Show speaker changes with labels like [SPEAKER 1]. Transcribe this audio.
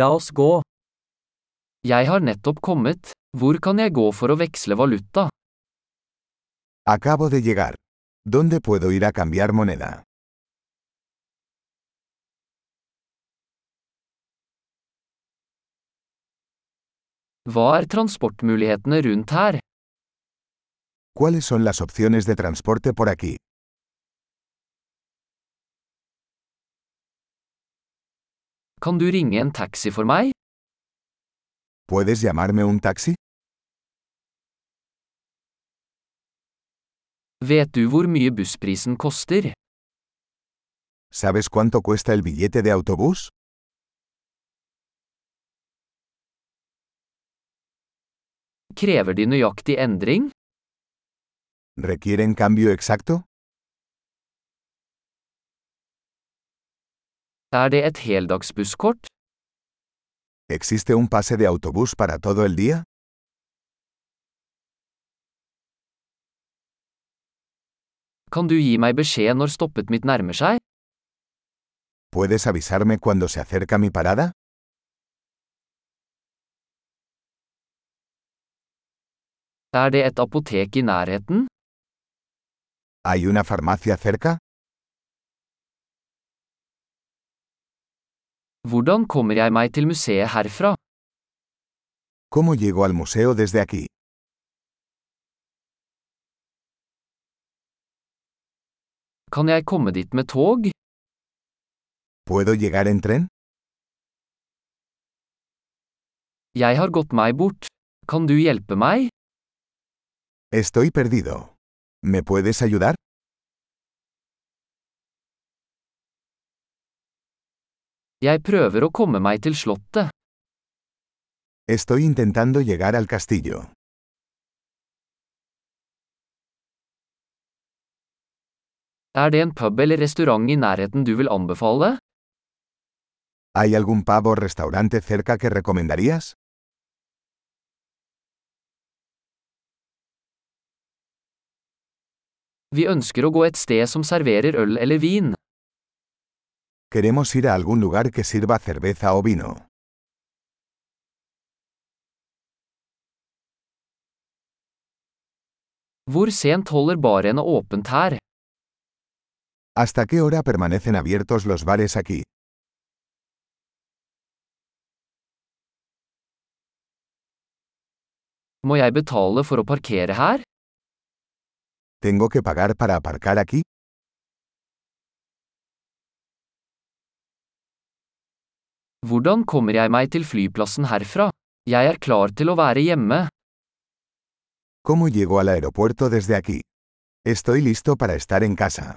[SPEAKER 1] La oss gå. Jeg har nettopp kommet. Hvor kan jeg gå for å veksle valuta?
[SPEAKER 2] Acabo de llegar. ¿Dónde puedo ir a cambiar moneda?
[SPEAKER 1] Hva er transportmulighetene rundt her?
[SPEAKER 2] ¿Cuáles son las opciones de transporte por aquí?
[SPEAKER 1] Kan du ringe en taxi for meg?
[SPEAKER 2] ¿Puedes llamarme un taxi?
[SPEAKER 1] Vet du hvor mye bussprisen koster?
[SPEAKER 2] ¿Sabes cuánto cuesta el billete de autobús?
[SPEAKER 1] Krever de nøyaktig endring?
[SPEAKER 2] ¿Requieren cambio exacto?
[SPEAKER 1] Er det et heldagsbusskort?
[SPEAKER 2] ¿Existe un pase de autobús para todo el día?
[SPEAKER 1] Kan du gi meg beskjed når stoppet mitt nærmer seg?
[SPEAKER 2] ¿Puedes avisarme cuando se acerca mi parada?
[SPEAKER 1] Er det et apotek i nærheten?
[SPEAKER 2] ¿Hay una farmacia cerca?
[SPEAKER 1] Hvordan kommer jeg meg til museet herfra?
[SPEAKER 2] ¿Cómo llego al museo desde aquí?
[SPEAKER 1] Kan jeg komme dit med tog?
[SPEAKER 2] ¿Puedo llegar en tren?
[SPEAKER 1] Jeg har gått meg bort. Kan du hjelpe meg?
[SPEAKER 2] Estoy perdido. ¿Me puedes ayudar?
[SPEAKER 1] Jeg prøver å komme meg til slottet.
[SPEAKER 2] Estoy intentando llegar al castillo.
[SPEAKER 1] Er det en pub eller restaurant i nærheten du vil anbefale?
[SPEAKER 2] ¿Hay algún pub o restaurante cerca que recomendarías?
[SPEAKER 1] Vi ønsker å gå et sted som serverer øl eller vin.
[SPEAKER 2] Queremos ir a algún lugar que sirva cerveza o vino.
[SPEAKER 1] Hvor sent holder barene åpent her?
[SPEAKER 2] ¿Hasta qué hora permanecen abiertos los bares aquí?
[SPEAKER 1] Må jeg betale for å parkere her?
[SPEAKER 2] ¿Tengo que pagar para aparcar aquí?
[SPEAKER 1] Hvordan kommer jeg meg til flyplassen herfra? Jeg er klar til å være hjemme.
[SPEAKER 2] ¿Cómo llego al aeropuerto desde aquí? Estoy listo para estar en casa.